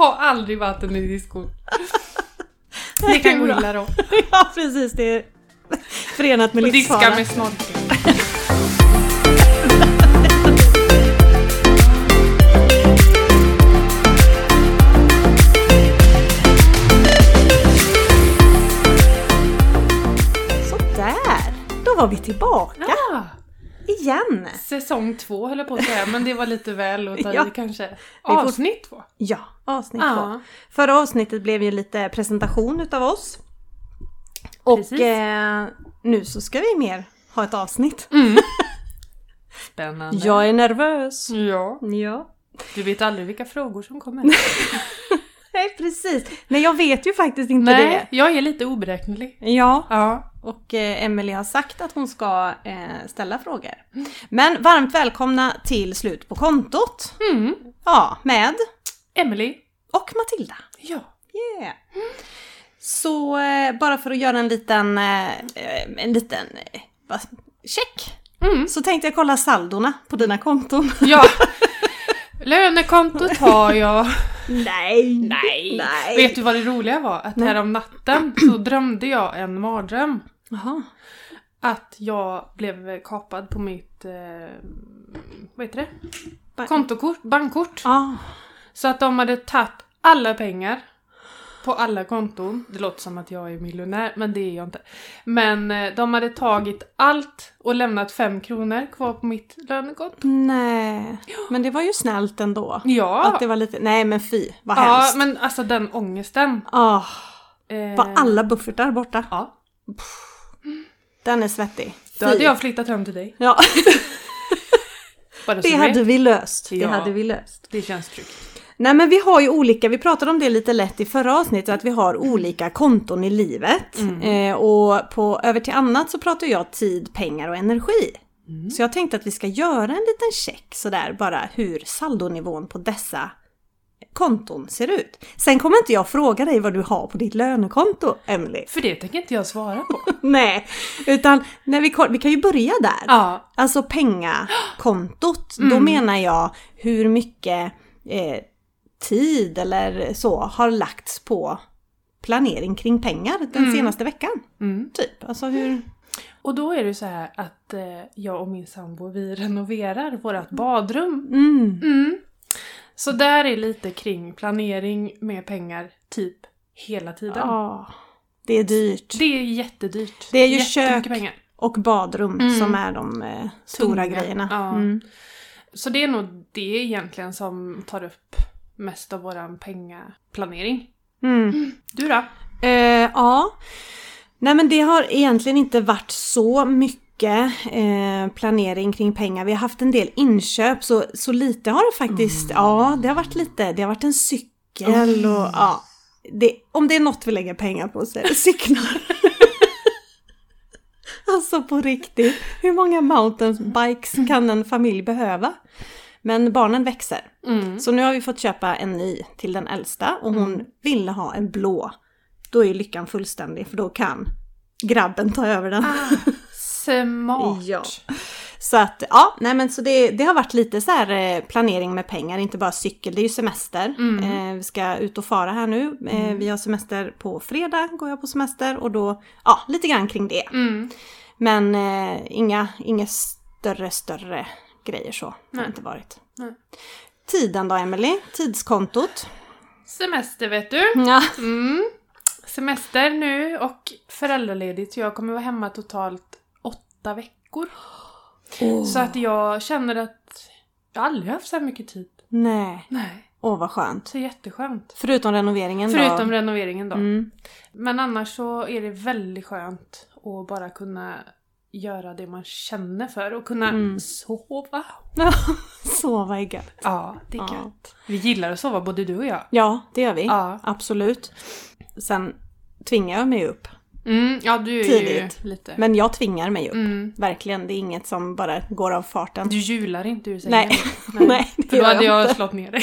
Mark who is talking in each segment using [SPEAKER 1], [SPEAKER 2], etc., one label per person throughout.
[SPEAKER 1] Har aldrig vatten i diskon. Det
[SPEAKER 2] Det är
[SPEAKER 1] kan gå
[SPEAKER 2] bra.
[SPEAKER 1] illa då.
[SPEAKER 2] Ja, precis. Det är förenat med
[SPEAKER 1] Och diska
[SPEAKER 2] livsfara.
[SPEAKER 1] med snorkel.
[SPEAKER 2] Sådär. Då var vi tillbaka
[SPEAKER 1] Ja.
[SPEAKER 2] igen.
[SPEAKER 1] Säsong två höll jag på att säga, men det var lite väl att ta
[SPEAKER 2] Ja.
[SPEAKER 1] i kanske.
[SPEAKER 2] får-
[SPEAKER 1] Avsnitt två.
[SPEAKER 2] Ja, avsnitt två.
[SPEAKER 1] Ja.
[SPEAKER 2] Förra avsnittet blev ju lite presentation utav oss. Och
[SPEAKER 1] Precis.
[SPEAKER 2] eh, nu så ska vi mer ha ett avsnitt.
[SPEAKER 1] Mm. Spännande.
[SPEAKER 2] Jag är nervös.
[SPEAKER 1] Ja.
[SPEAKER 2] Mm. Ja.
[SPEAKER 1] Du vet aldrig vilka frågor som kommer.
[SPEAKER 2] Nej, precis. Nej, jag vet ju faktiskt inte
[SPEAKER 1] Nej, jag är lite oberäknelig.
[SPEAKER 2] det. Ja,
[SPEAKER 1] Ja.
[SPEAKER 2] och eh, Emelie har sagt att hon ska eh, ställa frågor. Men varmt välkomna till Slut på kontot.
[SPEAKER 1] Mm.
[SPEAKER 2] Ja, med
[SPEAKER 1] Emily.
[SPEAKER 2] och Matilda.
[SPEAKER 1] Ja.
[SPEAKER 2] Yeah. Så eh, bara för att göra en liten, eh, eh, en liten eh, vad- check.
[SPEAKER 1] Mm.
[SPEAKER 2] Så tänkte jag kolla saldona på dina konton.
[SPEAKER 1] Ja. Lönekontot har jag.
[SPEAKER 2] Nej!
[SPEAKER 1] Nej.
[SPEAKER 2] Nej.
[SPEAKER 1] Vet du vad det roliga var? Att här om natten så drömde jag en mardröm.
[SPEAKER 2] Jaha.
[SPEAKER 1] Att jag blev kapad på mitt, eh, vad heter det?
[SPEAKER 2] Ba-
[SPEAKER 1] Kontokort, bankkort.
[SPEAKER 2] Ah.
[SPEAKER 1] Så att de hade tagit alla pengar på alla konton. Det låter som att jag är miljonär, men det är jag inte. Men eh, de hade tagit allt och lämnat fem kronor kvar på mitt lönekonto.
[SPEAKER 2] Nej. Men det var ju snällt ändå.
[SPEAKER 1] Ja,
[SPEAKER 2] Att det var lite, nej men fy, vad
[SPEAKER 1] ja
[SPEAKER 2] hemskt.
[SPEAKER 1] men alltså den ångesten.
[SPEAKER 2] Ah,
[SPEAKER 1] Eh,
[SPEAKER 2] var alla buffertar borta?
[SPEAKER 1] Ja.
[SPEAKER 2] Den är svettig.
[SPEAKER 1] Då
[SPEAKER 2] Fy.
[SPEAKER 1] hade jag flyttat hem till dig.
[SPEAKER 2] Ja,
[SPEAKER 1] Bara så
[SPEAKER 2] det
[SPEAKER 1] du
[SPEAKER 2] hade
[SPEAKER 1] vet.
[SPEAKER 2] vi löst. Det
[SPEAKER 1] Ja.
[SPEAKER 2] hade vi löst.
[SPEAKER 1] det känns tryggt.
[SPEAKER 2] Nej men vi har ju olika, vi pratade om det lite lätt i förra avsnittet, att vi har olika konton i livet. Eh, och på Över till annat så pratar jag tid, pengar och energi. Så jag tänkte att vi ska göra en liten check sådär bara hur saldonivån på dessa konton ser ut. Sen kommer inte jag fråga dig vad du har på ditt lönekonto, Emily.
[SPEAKER 1] För det tänker inte jag svara på.
[SPEAKER 2] Nej, utan när vi, koll- vi kan ju börja där.
[SPEAKER 1] ja.
[SPEAKER 2] Alltså pengakontot,
[SPEAKER 1] Mm.
[SPEAKER 2] då menar jag hur mycket eh, tid eller så har lagts på planering kring pengar den senaste veckan.
[SPEAKER 1] Mm.
[SPEAKER 2] Typ, alltså hur...
[SPEAKER 1] Och då är det så här att eh, jag och min sambo vi renoverar vårt badrum
[SPEAKER 2] Mm.
[SPEAKER 1] Mm. Så där är lite kring planering med pengar typ hela tiden.
[SPEAKER 2] Ja, det är dyrt.
[SPEAKER 1] Det är jättedyrt.
[SPEAKER 2] Det är ju
[SPEAKER 1] Jättemycket
[SPEAKER 2] kök.
[SPEAKER 1] pengar.
[SPEAKER 2] Och badrum
[SPEAKER 1] Mm.
[SPEAKER 2] som är de eh, stora
[SPEAKER 1] Tunga.
[SPEAKER 2] grejerna.
[SPEAKER 1] Ja.
[SPEAKER 2] Mm.
[SPEAKER 1] Så det är nog det egentligen som tar upp mest av våran pengaplanering.
[SPEAKER 2] Mm.
[SPEAKER 1] Du då?
[SPEAKER 2] Eh, ja. Nej men det har egentligen inte varit så mycket eh, planering kring pengar. Vi har haft en del inköp så, så lite har det faktiskt, ja det har varit lite, det har varit en cykel och ja. Det, om det är något vi lägger pengar på så är det cyklar. alltså på riktigt, hur många mountainbikes kan en familj behöva? Men barnen växer.
[SPEAKER 1] Mm.
[SPEAKER 2] Så nu har vi fått köpa en ny till den äldsta och hon ville ha en blå. Då är ju lyckan fullständig för då kan grabben ta över den.
[SPEAKER 1] Ah. Smart.
[SPEAKER 2] Ja. Så att ja, nej men så det, det har varit lite så här eh, planering med pengar, inte bara cykel, det är ju semester.
[SPEAKER 1] Mm.
[SPEAKER 2] Eh, vi ska ut och fara här nu. Eh, Vi har semester på fredag, går jag på semester och då, ja lite grann kring det.
[SPEAKER 1] Mm.
[SPEAKER 2] Men eh, inga, inga större, större grejer så. Det har det inte varit.
[SPEAKER 1] Nej.
[SPEAKER 2] Tiden då Emily, tidskontot.
[SPEAKER 1] Semester vet du.
[SPEAKER 2] Ja.
[SPEAKER 1] Mm. Semester nu och föräldraledigt. Jag kommer vara hemma totalt åtta veckor.
[SPEAKER 2] Oh.
[SPEAKER 1] Så att jag känner att jag aldrig haft så här mycket tid.
[SPEAKER 2] Nej,
[SPEAKER 1] Nej.
[SPEAKER 2] åh vad skönt.
[SPEAKER 1] Så jätteskönt.
[SPEAKER 2] Förutom renoveringen
[SPEAKER 1] Förutom
[SPEAKER 2] då.
[SPEAKER 1] renoveringen då.
[SPEAKER 2] Mm.
[SPEAKER 1] Men annars så är det väldigt skönt att bara kunna göra det man känner för och kunna
[SPEAKER 2] Mm.
[SPEAKER 1] sova.
[SPEAKER 2] Sova är gött.
[SPEAKER 1] Ja, det är
[SPEAKER 2] Ja.
[SPEAKER 1] gött. Vi gillar att sova, både du och jag.
[SPEAKER 2] Ja, det gör vi.
[SPEAKER 1] Ja.
[SPEAKER 2] Absolut. Sen tvingar jag mig upp.
[SPEAKER 1] Mm, ja, du är
[SPEAKER 2] Tidigt.
[SPEAKER 1] ju lite...
[SPEAKER 2] Men jag tvingar mig upp.
[SPEAKER 1] Mm.
[SPEAKER 2] Verkligen, det är inget som bara går av farten.
[SPEAKER 1] Du jular inte ur sängen.
[SPEAKER 2] Nej. Nej, det
[SPEAKER 1] För
[SPEAKER 2] gör
[SPEAKER 1] då hade
[SPEAKER 2] jag
[SPEAKER 1] jag
[SPEAKER 2] inte.
[SPEAKER 1] slått ner dig.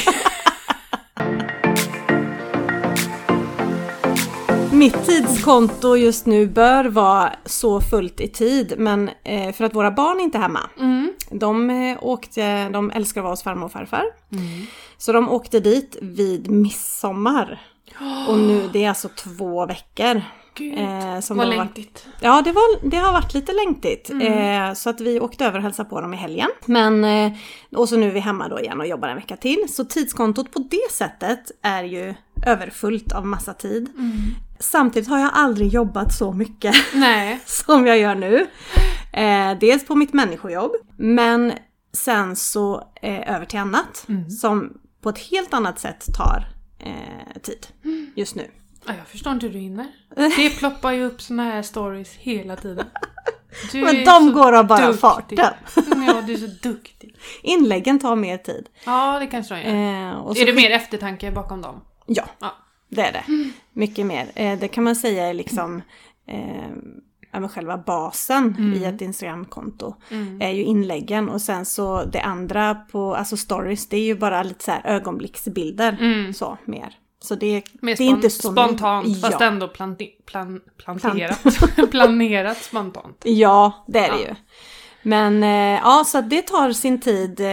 [SPEAKER 2] Mitt tidskonto just nu bör vara så fullt i tid men eh, för att våra barn inte är hemma.
[SPEAKER 1] Mm.
[SPEAKER 2] De eh, åkte, de älskar att vara hos farmor och farfar.
[SPEAKER 1] Mm.
[SPEAKER 2] Så de åkte dit vid midsommar. Och nu, det är alltså två veckor.
[SPEAKER 1] Gud,
[SPEAKER 2] Eh, som
[SPEAKER 1] vad
[SPEAKER 2] de har varit
[SPEAKER 1] längtigt. Mm.
[SPEAKER 2] Ja, det, var, det har varit lite längtigt. Eh, så att vi åkte över och hälsade på dem i helgen. Men, eh, och så nu är vi hemma då igen och jobbar en vecka till. Så tidskontot på det sättet är ju överfullt av massa tid.
[SPEAKER 1] Mm.
[SPEAKER 2] Samtidigt har jag aldrig jobbat så mycket
[SPEAKER 1] Nej.
[SPEAKER 2] som jag gör nu. Eh, dels på mitt människojobb, men sen så eh, över till annat
[SPEAKER 1] Mm.
[SPEAKER 2] som på ett helt annat sätt tar eh, tid just nu.
[SPEAKER 1] Ja, jag förstår inte hur du hinner. Det ploppar ju upp såna här stories hela tiden. Du
[SPEAKER 2] Men
[SPEAKER 1] är
[SPEAKER 2] de
[SPEAKER 1] så
[SPEAKER 2] går av bara
[SPEAKER 1] duktig. Mm,
[SPEAKER 2] farten.
[SPEAKER 1] Ja, du är så duktig.
[SPEAKER 2] Inläggen tar mer tid.
[SPEAKER 1] Ja, det kanske de gör.
[SPEAKER 2] Eh, och så-
[SPEAKER 1] Är det mer eftertanke bakom dem?
[SPEAKER 2] Ja,
[SPEAKER 1] Ja.
[SPEAKER 2] det är det. Mycket mer. Eh, det kan man säga är liksom eh, ja, men själva basen i
[SPEAKER 1] Mm.
[SPEAKER 2] ett Instagramkonto. är ju inläggen och sen så det andra på, alltså stories, det är ju bara lite så här ögonblicksbilder.
[SPEAKER 1] Mm.
[SPEAKER 2] Så, mer. Så det,
[SPEAKER 1] Mer
[SPEAKER 2] det är inte
[SPEAKER 1] spon-
[SPEAKER 2] så
[SPEAKER 1] spontant
[SPEAKER 2] mycket-
[SPEAKER 1] fast
[SPEAKER 2] ja.
[SPEAKER 1] ändå planti- plan- planterat. planerat spontant.
[SPEAKER 2] ja, det är det
[SPEAKER 1] Ja.
[SPEAKER 2] ju. Men eh, ja, så att det tar sin tid. Eh,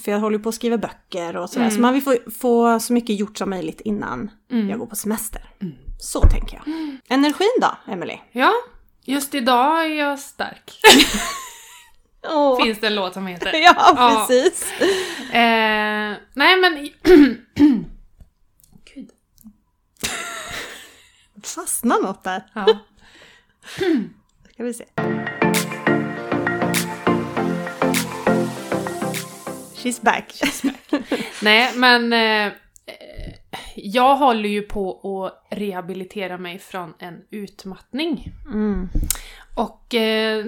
[SPEAKER 2] för jag håller ju på att skriva böcker och sådär. Så man vill få, få så mycket gjort som möjligt innan jag går på semester. Så tänker jag. Energin då, Emily?
[SPEAKER 1] Ja, just idag är jag stark.
[SPEAKER 2] Åh.
[SPEAKER 1] Finns det en låt som heter.
[SPEAKER 2] Ja,
[SPEAKER 1] Ja.
[SPEAKER 2] precis.
[SPEAKER 1] Eh, nej men... Gud.
[SPEAKER 2] Fastnar något där?
[SPEAKER 1] Ja.
[SPEAKER 2] Ska vi se. She's back.
[SPEAKER 1] Nej, men eh, eh, jag håller ju på att rehabilitera mig från en utmattning.
[SPEAKER 2] Mm.
[SPEAKER 1] Och eh,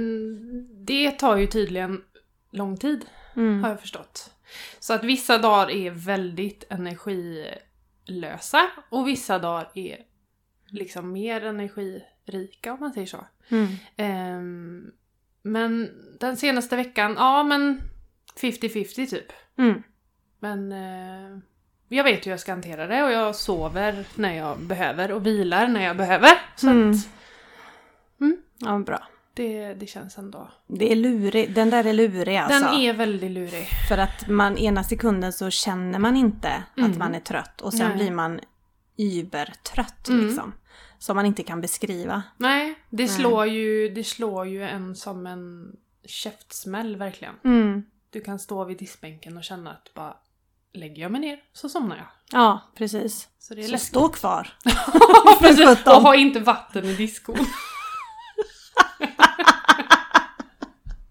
[SPEAKER 1] det tar ju tydligen lång tid, har
[SPEAKER 2] Mm.
[SPEAKER 1] jag förstått. Så att vissa dagar är väldigt energilösa och vissa dagar är liksom mer energirika om man säger så.
[SPEAKER 2] Mm.
[SPEAKER 1] Ehm, men den senaste veckan, ja men 50-50 typ.
[SPEAKER 2] Mm.
[SPEAKER 1] Men eh, jag vet hur jag ska hantera det och jag sover när jag behöver och vilar när jag behöver. Så
[SPEAKER 2] Mm.
[SPEAKER 1] att
[SPEAKER 2] Ja, bra.
[SPEAKER 1] det, det känns ändå.
[SPEAKER 2] Det är lurig. Den där är lurig alltså.
[SPEAKER 1] Den är väldigt lurig.
[SPEAKER 2] För att man ena sekunden så känner man inte att
[SPEAKER 1] Mm.
[SPEAKER 2] man är trött och sen
[SPEAKER 1] Nej.
[SPEAKER 2] blir man übertrött
[SPEAKER 1] Mm.
[SPEAKER 2] liksom. Som man inte kan beskriva.
[SPEAKER 1] Nej, det
[SPEAKER 2] Nej.
[SPEAKER 1] slår, Ju, det slår ju en som en käftsmäll verkligen. Du kan stå vid diskbänken och känna att bara lägger jag mig ner så somnar jag.
[SPEAKER 2] Ja, precis.
[SPEAKER 1] Så det är
[SPEAKER 2] Så
[SPEAKER 1] läskigt.
[SPEAKER 2] stå kvar.
[SPEAKER 1] Precis,
[SPEAKER 2] sjutton.
[SPEAKER 1] och ha inte vatten i diskon.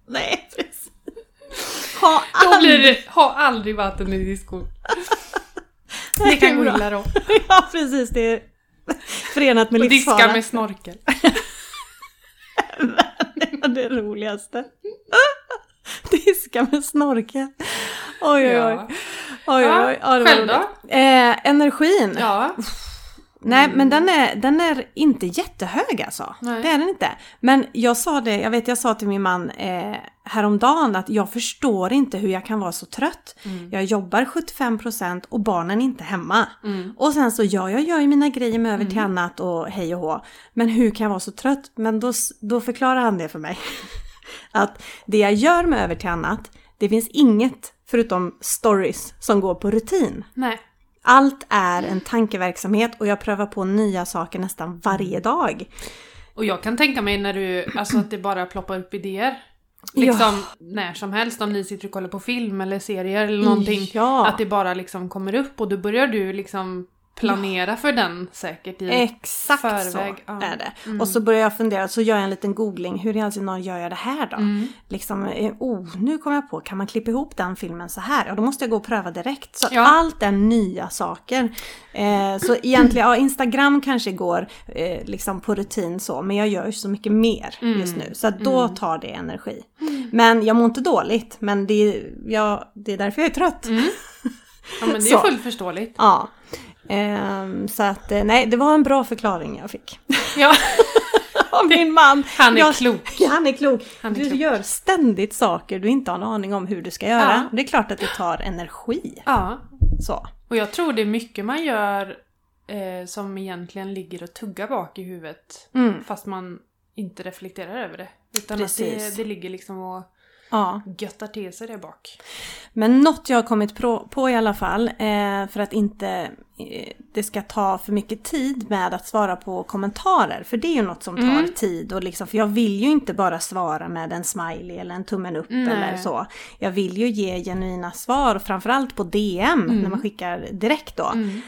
[SPEAKER 2] Nej, precis. Ha
[SPEAKER 1] Då blir
[SPEAKER 2] aldrig...
[SPEAKER 1] det, ha aldrig vatten i diskon. Det kan gå
[SPEAKER 2] Bra.
[SPEAKER 1] illa då.
[SPEAKER 2] Ja, precis. Det är förenat med
[SPEAKER 1] Och diska
[SPEAKER 2] livsfara.
[SPEAKER 1] med snorkel.
[SPEAKER 2] Det är det roligaste. Diska med snorkel. Oj, oj, oj.
[SPEAKER 1] Ja.
[SPEAKER 2] oj,
[SPEAKER 1] Ja,
[SPEAKER 2] oj. Ja, det var
[SPEAKER 1] själv då?
[SPEAKER 2] roligt. Eh, energin.
[SPEAKER 1] ja.
[SPEAKER 2] Nej, men den är, den är inte jättehög alltså.
[SPEAKER 1] Mm. Nej.
[SPEAKER 2] Det är den inte. Men jag sa det, jag vet jag sa till min man eh, häromdagen att jag förstår inte hur jag kan vara så trött. Jag jobbar 75% och barnen är inte hemma.
[SPEAKER 1] Mm.
[SPEAKER 2] Och sen så ja, jag gör ju mina grejer med över till annat och hej och hå. Men hur kan jag vara så trött? Men då, s- då förklarar han det för mig. Att det jag gör med över till annat, det finns inget förutom stories som går på rutin.
[SPEAKER 1] Nej.
[SPEAKER 2] Allt är en tankeverksamhet och jag prövar på nya saker nästan
[SPEAKER 1] Mm.
[SPEAKER 2] varje dag.
[SPEAKER 1] Typ Och jag kan tänka mig när du, alltså att det bara ploppar upp idéer. Liksom när som helst om ni sitter och kollar på film eller serier eller någonting.
[SPEAKER 2] Ja,
[SPEAKER 1] Att det bara liksom kommer upp och då börjar du liksom planera för den säkert i
[SPEAKER 2] exakt
[SPEAKER 1] förväg.
[SPEAKER 2] så
[SPEAKER 1] ja. Mm.
[SPEAKER 2] är det. Och så börjar jag fundera, så gör jag en liten googling. Hur i all sin dar gör jag det här då?
[SPEAKER 1] Mm.
[SPEAKER 2] Liksom, eh, oh, nu kom jag på, kan man klippa ihop den filmen så här? Ja, då måste jag gå och pröva direkt. Så att
[SPEAKER 1] Ja.
[SPEAKER 2] allt är nya saker. Eh, så egentligen, ja, Instagram kanske går eh, liksom på rutin så, men jag gör ju så mycket mer
[SPEAKER 1] Mm.
[SPEAKER 2] just nu. Så att då tar det energi. Men jag mår inte dåligt, men det är, ja, det är därför jag är trött.
[SPEAKER 1] Mm. Ja men det
[SPEAKER 2] Så.
[SPEAKER 1] är fullt förstårligt.
[SPEAKER 2] Ja. Ehm, så att, eh, nej, det var en bra förklaring jag fick.
[SPEAKER 1] Ja,
[SPEAKER 2] Av min man.
[SPEAKER 1] han är
[SPEAKER 2] jag,
[SPEAKER 1] klok.
[SPEAKER 2] Han är klok.
[SPEAKER 1] Han är
[SPEAKER 2] du
[SPEAKER 1] klok.
[SPEAKER 2] gör ständigt saker du inte har en aning om hur du ska göra.
[SPEAKER 1] Ja.
[SPEAKER 2] Det är klart att det tar energi.
[SPEAKER 1] Ja.
[SPEAKER 2] Så.
[SPEAKER 1] Och jag tror det är mycket man gör eh, som egentligen ligger och tuggar bak i huvudet
[SPEAKER 2] Mm.
[SPEAKER 1] fast man inte reflekterar över det. Utan att
[SPEAKER 2] Precis.
[SPEAKER 1] det, det ligger liksom och
[SPEAKER 2] Ja.
[SPEAKER 1] göttar till sig där bak.
[SPEAKER 2] Men något jag har kommit pro- på i alla fall, eh, för att inte eh, det ska ta för mycket tid med att svara på kommentarer. För det är ju något som tar
[SPEAKER 1] Mm.
[SPEAKER 2] tid. Och liksom, för jag vill ju inte bara svara med en smiley eller en tummen upp
[SPEAKER 1] Nej.
[SPEAKER 2] eller så. Jag vill ju ge genuina svar, och framförallt på DM
[SPEAKER 1] Mm.
[SPEAKER 2] när man skickar direkt då.
[SPEAKER 1] Mm.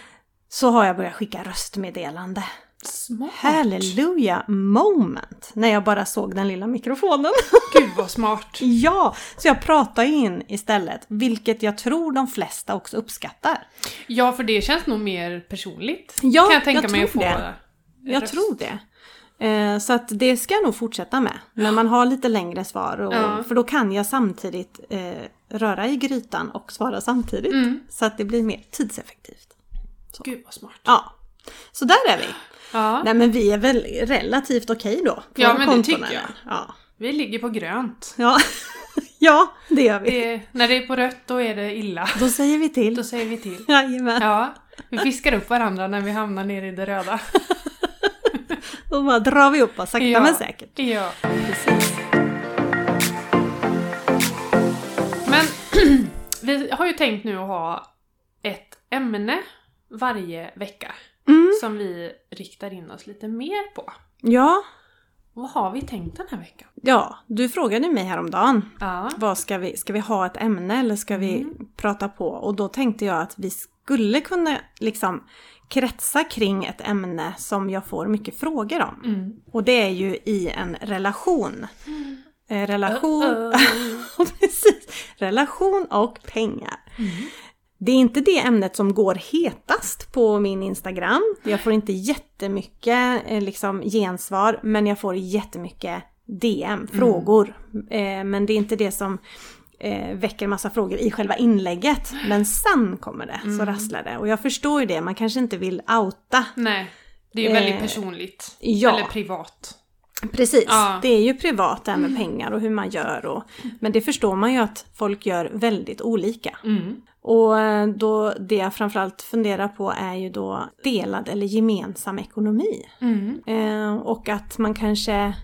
[SPEAKER 2] Så har jag börjat skicka röstmeddelande.
[SPEAKER 1] Smart!
[SPEAKER 2] Halleluja moment! När jag bara såg den lilla mikrofonen.
[SPEAKER 1] Gud vad smart!
[SPEAKER 2] Ja, så jag pratar ju in istället, vilket jag tror de flesta också uppskattar.
[SPEAKER 1] Ja, för det känns nog mer personligt.
[SPEAKER 2] Ja,
[SPEAKER 1] kan jag tänka
[SPEAKER 2] jag
[SPEAKER 1] mig att få.
[SPEAKER 2] tror det. Jag
[SPEAKER 1] röst.
[SPEAKER 2] tror det. Eh, Så att det ska jag nog fortsätta med, när man har lite längre svar. Och,
[SPEAKER 1] Ja.
[SPEAKER 2] För då kan jag samtidigt eh, röra i grytan och svara samtidigt.
[SPEAKER 1] Mm.
[SPEAKER 2] Så att det blir mer tidseffektivt.
[SPEAKER 1] Gud vad smart.
[SPEAKER 2] Ja, så där är vi.
[SPEAKER 1] Ja,
[SPEAKER 2] Nej men vi är väl relativt okej då. på
[SPEAKER 1] Ja, men det
[SPEAKER 2] konton,
[SPEAKER 1] tycker jag.
[SPEAKER 2] eller? Ja.
[SPEAKER 1] vi ligger på grönt.
[SPEAKER 2] Ja. ja, det gör vi.
[SPEAKER 1] Det, när det är på rött då är det illa.
[SPEAKER 2] Då säger vi till.
[SPEAKER 1] Då säger vi till.
[SPEAKER 2] Jajamän.
[SPEAKER 1] Ja, vi fiskar upp varandra när vi hamnar nere i det röda.
[SPEAKER 2] Då bara drar vi upp oss sakta
[SPEAKER 1] Ja.
[SPEAKER 2] men säkert.
[SPEAKER 1] Ja.
[SPEAKER 2] Precis.
[SPEAKER 1] Men vi har ju tänkt nu att ha ett ämne varje vecka
[SPEAKER 2] Mm.
[SPEAKER 1] som vi riktar in oss lite mer på.
[SPEAKER 2] Ja,
[SPEAKER 1] Vad har vi tänkt den här veckan?
[SPEAKER 2] ja, du frågade mig häromdagen.
[SPEAKER 1] Ja.
[SPEAKER 2] Vad ska vi, ska vi ha ett ämne eller ska vi
[SPEAKER 1] Mm.
[SPEAKER 2] prata på? Och då tänkte jag att vi skulle kunna liksom kretsa kring ett ämne som jag får mycket frågor om.
[SPEAKER 1] Mm.
[SPEAKER 2] Och det är ju i en relation. Eh, relation,
[SPEAKER 1] Oh,
[SPEAKER 2] precis, relation och pengar.
[SPEAKER 1] Mm.
[SPEAKER 2] Det är inte det ämnet som går hetast på min Instagram. Jag får inte jättemycket eh, liksom, gensvar, men jag får jättemycket DM, frågor. Eh, men det är inte det som eh, väcker massa frågor i själva inlägget. Men sen kommer det, så rasslar det. Och jag förstår ju det, man kanske inte vill outa.
[SPEAKER 1] Nej, det är ju väldigt
[SPEAKER 2] Eh,
[SPEAKER 1] personligt.
[SPEAKER 2] ja.
[SPEAKER 1] Eller privat.
[SPEAKER 2] Precis,
[SPEAKER 1] Ja.
[SPEAKER 2] det är ju privat det här med pengar och hur man gör. Och, men det förstår man ju att folk gör väldigt olika.
[SPEAKER 1] Mm.
[SPEAKER 2] Och eh, då det jag framförallt funderar på är ju då delad eller gemensam ekonomi.
[SPEAKER 1] Mm.
[SPEAKER 2] Eh, och att man kanske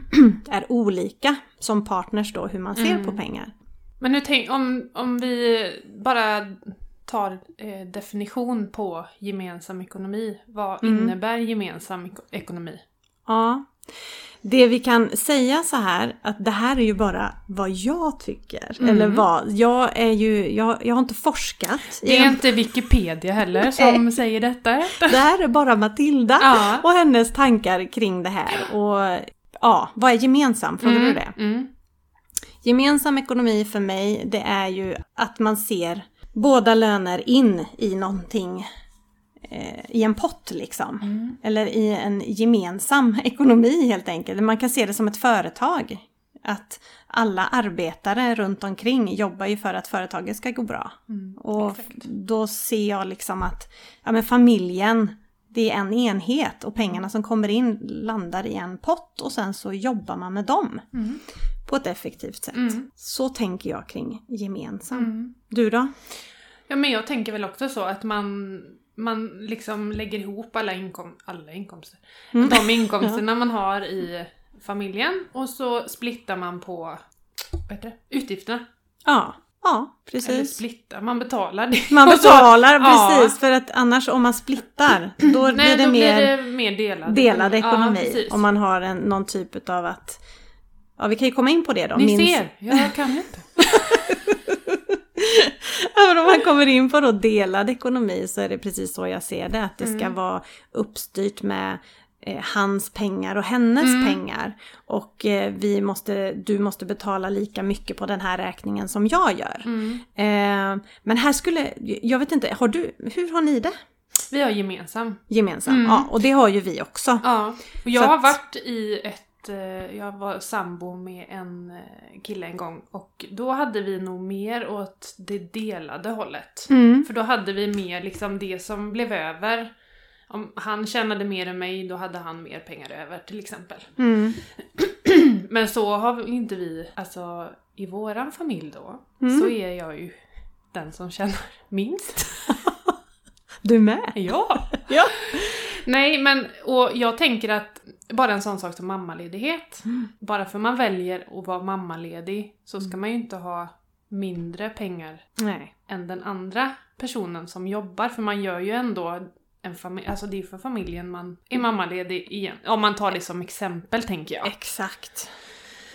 [SPEAKER 2] är olika som partners då hur man ser
[SPEAKER 1] Mm.
[SPEAKER 2] på pengar.
[SPEAKER 1] Men nu tänk, om, om vi bara tar eh, definition på gemensam ekonomi. Vad
[SPEAKER 2] Mm.
[SPEAKER 1] innebär gemensam eko- ekonomi?
[SPEAKER 2] Ja. Det vi kan säga så här, att det här är ju bara vad jag tycker.
[SPEAKER 1] Mm.
[SPEAKER 2] Eller vad, jag är ju, jag, jag har inte forskat. i
[SPEAKER 1] Det är
[SPEAKER 2] de-
[SPEAKER 1] inte Wikipedia heller som säger detta.
[SPEAKER 2] Det här är bara Matilda
[SPEAKER 1] Ja.
[SPEAKER 2] och hennes tankar kring det här. Och ja, vad är gemensam? Frågar du det?
[SPEAKER 1] Mm.
[SPEAKER 2] Gemensam ekonomi för mig, det är ju att man ser båda löner in i någonting, eh, i en pott liksom.
[SPEAKER 1] Mm.
[SPEAKER 2] Eller i en gemensam ekonomi helt enkelt. Man kan se det som ett företag. Att alla arbetare runt omkring jobbar ju för att företaget ska gå bra.
[SPEAKER 1] Mm.
[SPEAKER 2] Och
[SPEAKER 1] Exakt.
[SPEAKER 2] då ser jag liksom att ja, men familjen, det är en enhet och pengarna som kommer in landar i en pott och sen så jobbar man med dem
[SPEAKER 1] Mm.
[SPEAKER 2] på ett effektivt sätt.
[SPEAKER 1] Mm.
[SPEAKER 2] Så tänker jag kring gemensam.
[SPEAKER 1] Mm.
[SPEAKER 2] Du då?
[SPEAKER 1] Ja men jag tänker väl också så att man, man liksom lägger ihop alla, inkom alla inkomster.
[SPEAKER 2] Mm.
[SPEAKER 1] De inkomsterna man har i familjen och så splittar man på vad heter det? utgifterna.
[SPEAKER 2] Ja, ja
[SPEAKER 1] Eller
[SPEAKER 2] precis.
[SPEAKER 1] splittar, man betalar det.
[SPEAKER 2] Typ. Man
[SPEAKER 1] Och så-
[SPEAKER 2] betalar
[SPEAKER 1] ja.
[SPEAKER 2] precis för att annars om man splittar då
[SPEAKER 1] Nej,
[SPEAKER 2] blir det
[SPEAKER 1] då
[SPEAKER 2] mer
[SPEAKER 1] blir det mer delad,
[SPEAKER 2] delad
[SPEAKER 1] Ja,
[SPEAKER 2] ekonomi.
[SPEAKER 1] precis.
[SPEAKER 2] om man har en, någon typ utav att Ja vi kan ju komma in på det då.
[SPEAKER 1] Ni
[SPEAKER 2] min-
[SPEAKER 1] ser, jag kan inte.
[SPEAKER 2] Även om man kommer in på då delad ekonomi så är det precis så jag ser det. Att det ska
[SPEAKER 1] Mm.
[SPEAKER 2] vara uppstyrt med eh, hans pengar och hennes
[SPEAKER 1] Mm.
[SPEAKER 2] pengar. Och eh, vi måste, du måste betala lika mycket på den här räkningen som jag gör.
[SPEAKER 1] Mm.
[SPEAKER 2] Eh, men här skulle, jag vet inte, har du, hur har ni det?
[SPEAKER 1] Vi har gemensam.
[SPEAKER 2] Gemensamt?
[SPEAKER 1] Mm.
[SPEAKER 2] Ja, och det har ju vi också.
[SPEAKER 1] Ja, och jag
[SPEAKER 2] Så
[SPEAKER 1] har
[SPEAKER 2] att-
[SPEAKER 1] varit i ett, eh, jag var sambo med en eh, kille en gång och då hade vi nog mer åt det delade hållet.
[SPEAKER 2] Mm.
[SPEAKER 1] För då hade vi mer liksom det som blev över. Om han tjänade mer än mig, då hade han mer pengar över till exempel.
[SPEAKER 2] Mm.
[SPEAKER 1] Men så har vi inte vi, alltså i våran familj då,
[SPEAKER 2] Mm.
[SPEAKER 1] så är jag ju den som tjänar minst.
[SPEAKER 2] Du med?
[SPEAKER 1] Ja!
[SPEAKER 2] Ja.
[SPEAKER 1] Nej, men och jag tänker att bara en sån sak som mammaledighet.
[SPEAKER 2] Mm.
[SPEAKER 1] Bara för man väljer att vara mammaledig så ska man ju inte ha mindre pengar
[SPEAKER 2] Nej.
[SPEAKER 1] än den andra personen som jobbar. För man gör ju ändå en familj, alltså det är för familjen man är mammaledig igen. Om man tar det som exempel tänker
[SPEAKER 2] Ah.
[SPEAKER 1] jag.
[SPEAKER 2] Exakt.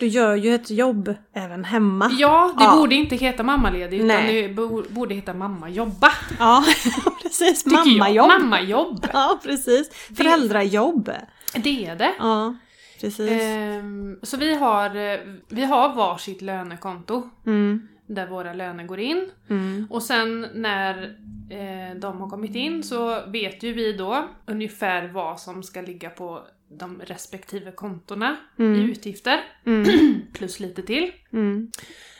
[SPEAKER 2] Du gör ju ett jobb även hemma.
[SPEAKER 1] Ja, det
[SPEAKER 2] Ja.
[SPEAKER 1] borde inte heta mammaledig utan
[SPEAKER 2] Ah. Nej.
[SPEAKER 1] det bo- borde heta mammajobba.
[SPEAKER 2] Ja, precis.
[SPEAKER 1] tycker jag.
[SPEAKER 2] Mammajobb.
[SPEAKER 1] Mammajobb!
[SPEAKER 2] Ja, precis. Föräldrajobb.
[SPEAKER 1] Det är det.
[SPEAKER 2] Ja, precis.
[SPEAKER 1] Ehm, så vi har, eh, vi har varsitt lönekonto
[SPEAKER 2] Mm.
[SPEAKER 1] där våra löner går in.
[SPEAKER 2] Mm.
[SPEAKER 1] Och sen när eh, de har kommit in så vet ju vi då ungefär vad som ska ligga på de respektive kontona i
[SPEAKER 2] Mm.
[SPEAKER 1] utgifter,
[SPEAKER 2] Mm.
[SPEAKER 1] plus lite till.
[SPEAKER 2] Mm.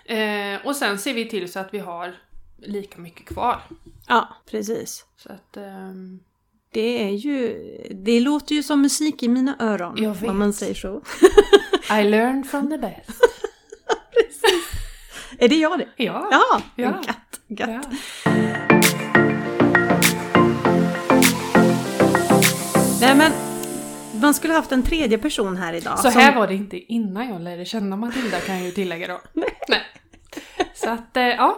[SPEAKER 1] Eh, och sen ser vi till så att vi har lika mycket kvar.
[SPEAKER 2] Ja, precis.
[SPEAKER 1] Så att, ehm,
[SPEAKER 2] Det är ju... Det låter ju som musik i mina öron.
[SPEAKER 1] Jag vet.
[SPEAKER 2] Om man säger så.
[SPEAKER 1] I learned from the best.
[SPEAKER 2] Är det jag det?
[SPEAKER 1] Ja.
[SPEAKER 2] Ja!
[SPEAKER 1] Ja.
[SPEAKER 2] Gött, gött.
[SPEAKER 1] ja.
[SPEAKER 2] Nej men, man skulle haft en tredje person här idag.
[SPEAKER 1] Så här
[SPEAKER 2] som,
[SPEAKER 1] var det inte innan jag lärde känna Matilda kan jag ju tillägga då. Nej. Så att, eh, ja.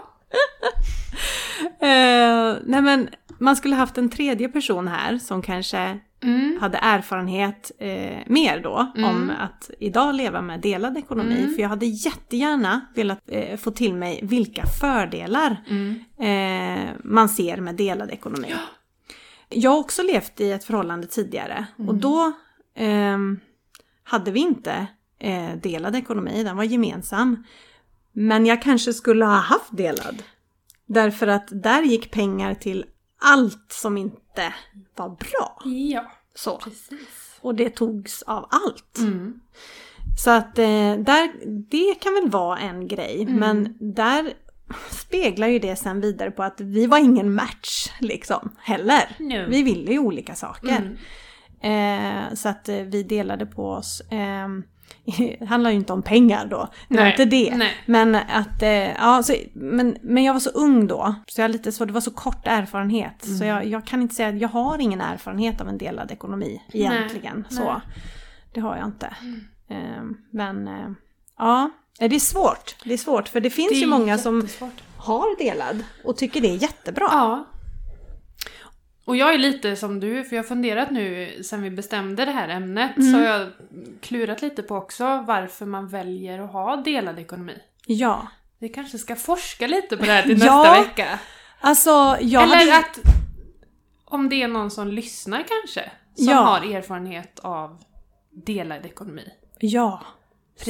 [SPEAKER 2] eh, nej men, man skulle haft en tredje person här som kanske
[SPEAKER 1] Mm.
[SPEAKER 2] hade erfarenhet eh, mer då
[SPEAKER 1] Mm.
[SPEAKER 2] om att idag leva med delad ekonomi.
[SPEAKER 1] Mm.
[SPEAKER 2] För jag hade jättegärna velat eh, få till mig vilka fördelar
[SPEAKER 1] Mm.
[SPEAKER 2] eh, man ser med delad ekonomi. Jag har också levt i ett förhållande tidigare och
[SPEAKER 1] Mm.
[SPEAKER 2] då ehm, hade vi inte eh, delad ekonomi, den var gemensam. Men jag kanske skulle ha haft delad. Därför att där gick pengar till allt som inte var bra.
[SPEAKER 1] Ja,
[SPEAKER 2] Så.
[SPEAKER 1] precis.
[SPEAKER 2] Och det togs av allt.
[SPEAKER 1] Mm.
[SPEAKER 2] Så att eh, där, det kan väl vara en grej,
[SPEAKER 1] Mm.
[SPEAKER 2] men där speglar ju det sen vidare på att vi var ingen match liksom heller.
[SPEAKER 1] No.
[SPEAKER 2] Vi ville ju olika saker.
[SPEAKER 1] Mm.
[SPEAKER 2] Eh, så att eh, vi delade på oss. Eh, det handlar ju inte om pengar då, det var
[SPEAKER 1] Nej.
[SPEAKER 2] inte det.
[SPEAKER 1] Nej.
[SPEAKER 2] Men att, eh, ja, så, men, men jag var så ung då, så jag har lite så, det var så kort erfarenhet.
[SPEAKER 1] Mm.
[SPEAKER 2] Så jag, jag kan inte säga, jag har ingen erfarenhet av en delad ekonomi egentligen.
[SPEAKER 1] Nej.
[SPEAKER 2] Så.
[SPEAKER 1] Nej. Mm.
[SPEAKER 2] Det har jag inte. Eh, men eh, ja, Eh, det är svårt. Det är svårt för det finns
[SPEAKER 1] Det är
[SPEAKER 2] ju många som
[SPEAKER 1] jättesvårt.
[SPEAKER 2] har delad och tycker det är jättebra.
[SPEAKER 1] Ja. Och jag är lite som du, för jag har funderat nu sen vi bestämde det här ämnet.
[SPEAKER 2] Mm.
[SPEAKER 1] Så har jag klurat lite på också varför man väljer att ha delad ekonomi.
[SPEAKER 2] Ja.
[SPEAKER 1] Vi kanske ska forska lite på det här till nästa
[SPEAKER 2] Ja.
[SPEAKER 1] vecka.
[SPEAKER 2] Alltså jag
[SPEAKER 1] Eller
[SPEAKER 2] hade...
[SPEAKER 1] att om det är någon som lyssnar kanske, som
[SPEAKER 2] Ja.
[SPEAKER 1] har erfarenhet av delad ekonomi.
[SPEAKER 2] Ja,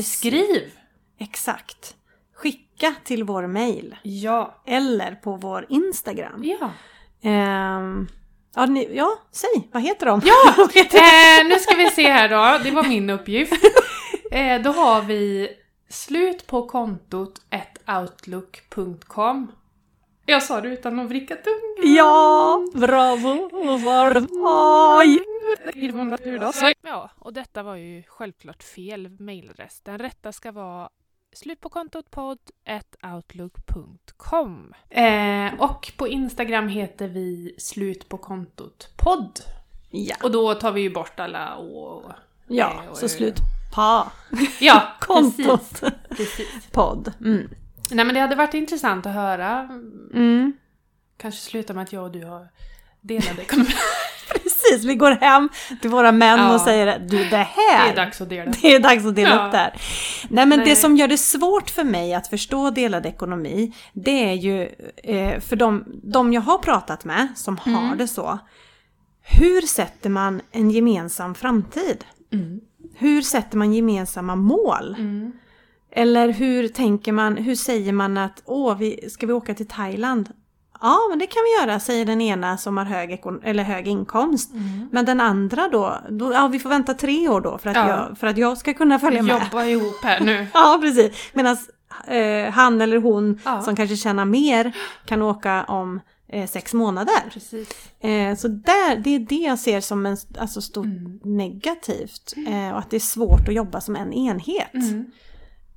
[SPEAKER 1] Skriv!
[SPEAKER 2] exakt. Skicka till vår mail.
[SPEAKER 1] Ja.
[SPEAKER 2] Eller på vår Instagram.
[SPEAKER 1] Ja.
[SPEAKER 2] Ehm, ja, ni, ja, säg, vad heter de?
[SPEAKER 1] ja. eh, nu ska vi se här då, det var min uppgift. Eh, då har vi slut på kontot outlook.com Jag sa det utan att vricka tungan.
[SPEAKER 2] Ja, bravo! Var, oj!
[SPEAKER 1] Mm. Ja, och detta var ju självklart fel mejladress. Den rätta ska vara slutpåkontotpodd.outlook.com eh, Och på Instagram heter vi slutpåkontotpodd.
[SPEAKER 2] Ja,
[SPEAKER 1] Och då tar vi ju bort alla och...
[SPEAKER 2] ja så slut pa.
[SPEAKER 1] Ja, precis,
[SPEAKER 2] Kontot.
[SPEAKER 1] precis.
[SPEAKER 2] Podd. Mm.
[SPEAKER 1] Nej men det hade varit intressant att höra.
[SPEAKER 2] Mm.
[SPEAKER 1] Kanske sluta med att jag och du har delad ekonomi.
[SPEAKER 2] Precis, vi går hem till våra män
[SPEAKER 1] Ja.
[SPEAKER 2] och säger du det
[SPEAKER 1] Det
[SPEAKER 2] här.
[SPEAKER 1] är dags att dela.
[SPEAKER 2] Det är dags att dela
[SPEAKER 1] Ja.
[SPEAKER 2] upp det här. Nej men
[SPEAKER 1] Nej.
[SPEAKER 2] det som gör det svårt för mig att förstå delad ekonomi, det är ju eh, för de, de jag har pratat med som
[SPEAKER 1] Mm.
[SPEAKER 2] har det så. Hur sätter man en gemensam framtid?
[SPEAKER 1] Mm.
[SPEAKER 2] Hur sätter man gemensamma mål?
[SPEAKER 1] Mm.
[SPEAKER 2] Eller hur tänker man, hur säger man att åh, vi, ska vi åka till Thailand? Ja, men det kan vi göra, säger den ena som har hög, ekon- eller hög inkomst. Men den andra då, då, ja vi får vänta tre år då för att,
[SPEAKER 1] Mm. Ja.
[SPEAKER 2] jag, för att jag ska kunna följa med.
[SPEAKER 1] Jobba ihop här nu.
[SPEAKER 2] Ja, precis. Medan eh, han eller hon
[SPEAKER 1] Ja.
[SPEAKER 2] som kanske tjänar mer kan åka om eh, sex månader.
[SPEAKER 1] Precis.
[SPEAKER 2] Eh, så där, det är det jag ser som en, alltså stort
[SPEAKER 1] Mm.
[SPEAKER 2] negativt. Eh, och att det är svårt att jobba som en enhet.
[SPEAKER 1] Mm.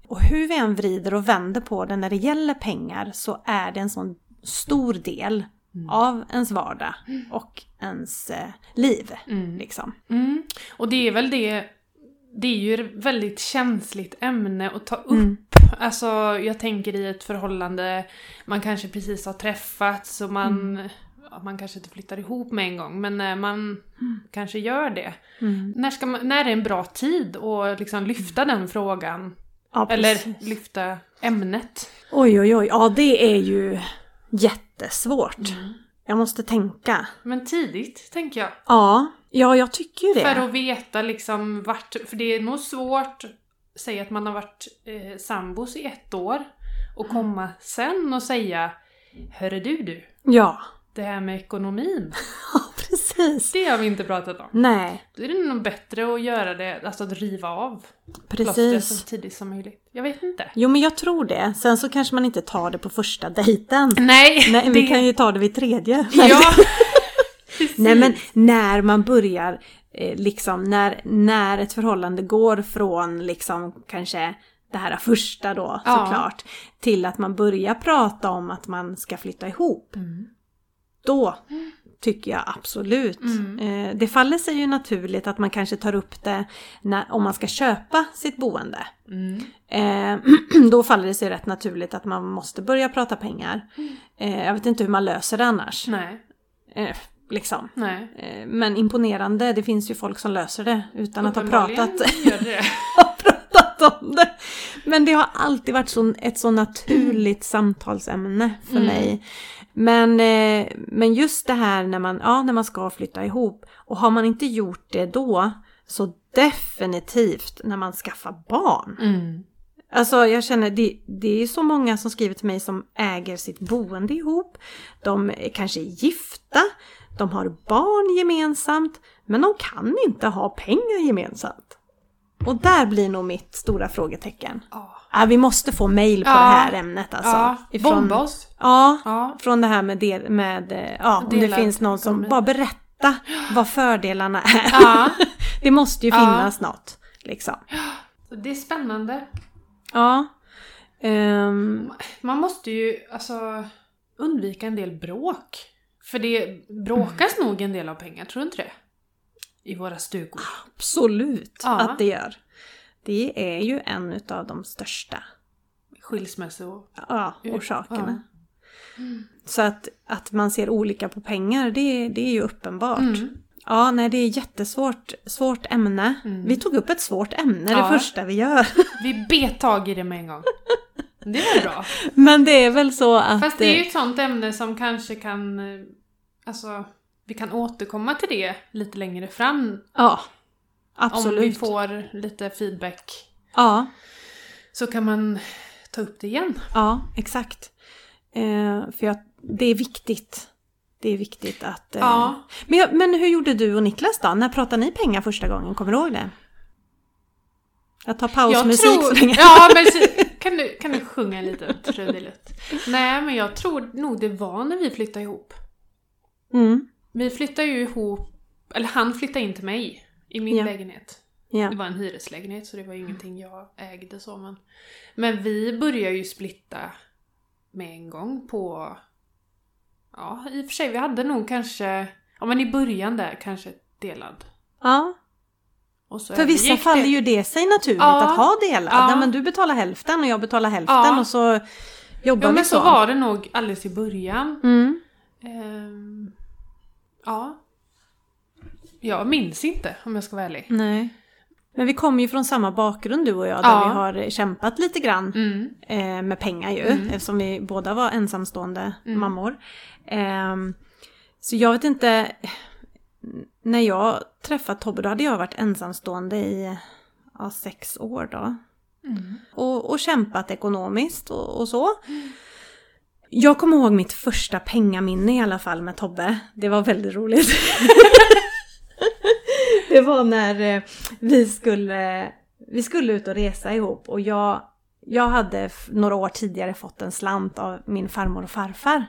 [SPEAKER 2] Och hur vi än vrider och vänder på det när det gäller pengar så är det en sån stor del
[SPEAKER 1] Mm.
[SPEAKER 2] av ens vardag och ens eh, liv.
[SPEAKER 1] Mm.
[SPEAKER 2] Liksom.
[SPEAKER 1] Mm. Och det är väl det, det är ju ett väldigt känsligt ämne att ta upp.
[SPEAKER 2] Mm.
[SPEAKER 1] Alltså jag tänker i ett förhållande, man kanske precis har träffats och man,
[SPEAKER 2] Mm.
[SPEAKER 1] ja, man kanske inte flyttar ihop med en gång, men när man kanske gör det.
[SPEAKER 2] Mm.
[SPEAKER 1] När, ska man, när är en bra tid att liksom lyfta den frågan?
[SPEAKER 2] Ja, precis.
[SPEAKER 1] Eller lyfta ämnet?
[SPEAKER 2] Oj, oj, oj. Ja, det är ju jättesvårt.
[SPEAKER 1] Mm.
[SPEAKER 2] Jag måste tänka.
[SPEAKER 1] Men tidigt, tänker jag.
[SPEAKER 2] Ja, ja jag tycker ju det.
[SPEAKER 1] För att veta liksom vart, för det är nog svårt, säg att man har varit eh, sambos i ett år, och komma sen och säga Hörru du du,
[SPEAKER 2] Ja,
[SPEAKER 1] det här med ekonomin,
[SPEAKER 2] precis.
[SPEAKER 1] det har vi inte pratat om.
[SPEAKER 2] Nej,
[SPEAKER 1] Då är det nog bättre att göra det, alltså att riva av plåstret så
[SPEAKER 2] precis.
[SPEAKER 1] tidigt som möjligt. Jag vet inte.
[SPEAKER 2] Jo, men jag tror det. Sen så kanske man inte tar det på första dejten.
[SPEAKER 1] Nej,
[SPEAKER 2] Nej,
[SPEAKER 1] det,
[SPEAKER 2] vi kan ju ta det vid tredje.
[SPEAKER 1] Ja, precis.
[SPEAKER 2] Nej men när man börjar, eh, liksom när, när ett förhållande går från liksom kanske det här första då
[SPEAKER 1] Ja.
[SPEAKER 2] såklart, till att man börjar prata om att man ska flytta ihop.
[SPEAKER 1] Mm.
[SPEAKER 2] Då tycker jag absolut.
[SPEAKER 1] Mm.
[SPEAKER 2] Eh, det faller sig ju naturligt att man kanske tar upp det när, om man ska köpa sitt boende.
[SPEAKER 1] Mm.
[SPEAKER 2] Eh, då faller det sig rätt naturligt att man måste börja prata pengar. Eh, jag vet inte hur man löser det annars.
[SPEAKER 1] Nej,
[SPEAKER 2] Eh, liksom.
[SPEAKER 1] nej.
[SPEAKER 2] Eh, Men imponerande, det finns ju folk som löser det utan att ha
[SPEAKER 1] Uppenbarligen
[SPEAKER 2] pratat,
[SPEAKER 1] gör det det.
[SPEAKER 2] ha pratat om det. Men det har alltid varit så, ett så naturligt samtalsämne för
[SPEAKER 1] Mm.
[SPEAKER 2] mig. Men, eh, men just det här när man, ja, när man ska flytta ihop och har man inte gjort det då så definitivt när man skaffar barn.
[SPEAKER 1] Mm.
[SPEAKER 2] Alltså jag känner, det, det är så många som skriver till mig som äger sitt boende ihop. De är kanske är gifta, de har barn gemensamt, men de kan inte ha pengar gemensamt. Och där blir nog mitt stora frågetecken.
[SPEAKER 1] Ja.
[SPEAKER 2] Ja, vi måste få mail på
[SPEAKER 1] Ja.
[SPEAKER 2] det här ämnet alltså.
[SPEAKER 1] ja, bomba oss.
[SPEAKER 2] Ja,
[SPEAKER 1] Ja.
[SPEAKER 2] från det här med, del, med eh, ja, om det
[SPEAKER 1] Delad
[SPEAKER 2] finns någon som
[SPEAKER 1] ekonomi.
[SPEAKER 2] bara berätta vad fördelarna är.
[SPEAKER 1] Ja.
[SPEAKER 2] Det måste ju
[SPEAKER 1] Ja.
[SPEAKER 2] finnas något. Liksom.
[SPEAKER 1] Så det är spännande.
[SPEAKER 2] Ja. Ehm,
[SPEAKER 1] Man måste ju alltså undvika en del bråk. För det bråkas nog en del av pengar, tror du inte det? I våra stugor.
[SPEAKER 2] Absolut
[SPEAKER 1] Ja.
[SPEAKER 2] att det gör. Det är ju en utav de största
[SPEAKER 1] Skilsmässor.
[SPEAKER 2] ja, orsakerna.
[SPEAKER 1] Mm.
[SPEAKER 2] Så att, att man ser olika på pengar, det, det är ju uppenbart.
[SPEAKER 1] Mm.
[SPEAKER 2] Ja, nej det är jättesvårt svårt ämne.
[SPEAKER 1] Mm.
[SPEAKER 2] Vi tog upp ett svårt ämne
[SPEAKER 1] Ja.
[SPEAKER 2] det första vi gör.
[SPEAKER 1] Vi bet tag i det med en gång. Det var bra.
[SPEAKER 2] Men det är väl så att...
[SPEAKER 1] Fast det är ju
[SPEAKER 2] eh,
[SPEAKER 1] ett sånt ämne som kanske kan... eh, Alltså, vi kan återkomma till det lite längre fram.
[SPEAKER 2] Ja,
[SPEAKER 1] Om vi
[SPEAKER 2] absolut.
[SPEAKER 1] får lite feedback
[SPEAKER 2] Ja,
[SPEAKER 1] så kan man ta upp det igen.
[SPEAKER 2] ja, exakt. Eh, för jag, det är viktigt. Det är viktigt att... eh,
[SPEAKER 1] Ja.
[SPEAKER 2] Men, jag, men hur gjorde du och Niklas då? När pratade ni pengar första gången? Kommer du ihåg det? Jag tar pausmusik så länge.
[SPEAKER 1] Ja, men så- kan du, kan du sjunga lite trudelutt? Nej, men jag tror nog det var när vi flyttade ihop.
[SPEAKER 2] Mm.
[SPEAKER 1] Vi flyttade ju ihop, eller han flyttade in till mig i min
[SPEAKER 2] Ja.
[SPEAKER 1] lägenhet.
[SPEAKER 2] Ja.
[SPEAKER 1] Det var en hyreslägenhet så det var ju ingenting jag ägde så men. Men vi började ju splitta med en gång på, ja i och för sig vi hade nog kanske, ja men i början där kanske delad.
[SPEAKER 2] ja.
[SPEAKER 1] Och så
[SPEAKER 2] För vissa
[SPEAKER 1] övergick det.
[SPEAKER 2] faller ju det sig naturligt
[SPEAKER 1] Ja.
[SPEAKER 2] att ha delar.
[SPEAKER 1] Ja.
[SPEAKER 2] Nej, men du betalar hälften och jag betalar hälften
[SPEAKER 1] Ja.
[SPEAKER 2] och så jobbar
[SPEAKER 1] Ja
[SPEAKER 2] vi
[SPEAKER 1] men
[SPEAKER 2] så.
[SPEAKER 1] så var det nog alldeles i början.
[SPEAKER 2] Mm.
[SPEAKER 1] Ehm, ja. Jag minns inte om jag ska vara ärlig.
[SPEAKER 2] Nej. Men vi kommer ju från samma bakgrund du och jag, där
[SPEAKER 1] Ja.
[SPEAKER 2] vi har kämpat lite grann
[SPEAKER 1] Mm.
[SPEAKER 2] eh, med pengar ju,
[SPEAKER 1] Mm.
[SPEAKER 2] eftersom vi båda var ensamstående
[SPEAKER 1] Mm.
[SPEAKER 2] mammor. Ehm, så jag vet inte, när jag träffade Tobbe då hade jag varit ensamstående i ja, sex år då. Och, och kämpat ekonomiskt och, och så. Jag kommer ihåg mitt första pengaminne i alla fall med Tobbe. Det var väldigt roligt. det var när eh, vi skulle, vi skulle ut och resa ihop och jag, jag hade f- några år tidigare fått en slant av min farmor och farfar.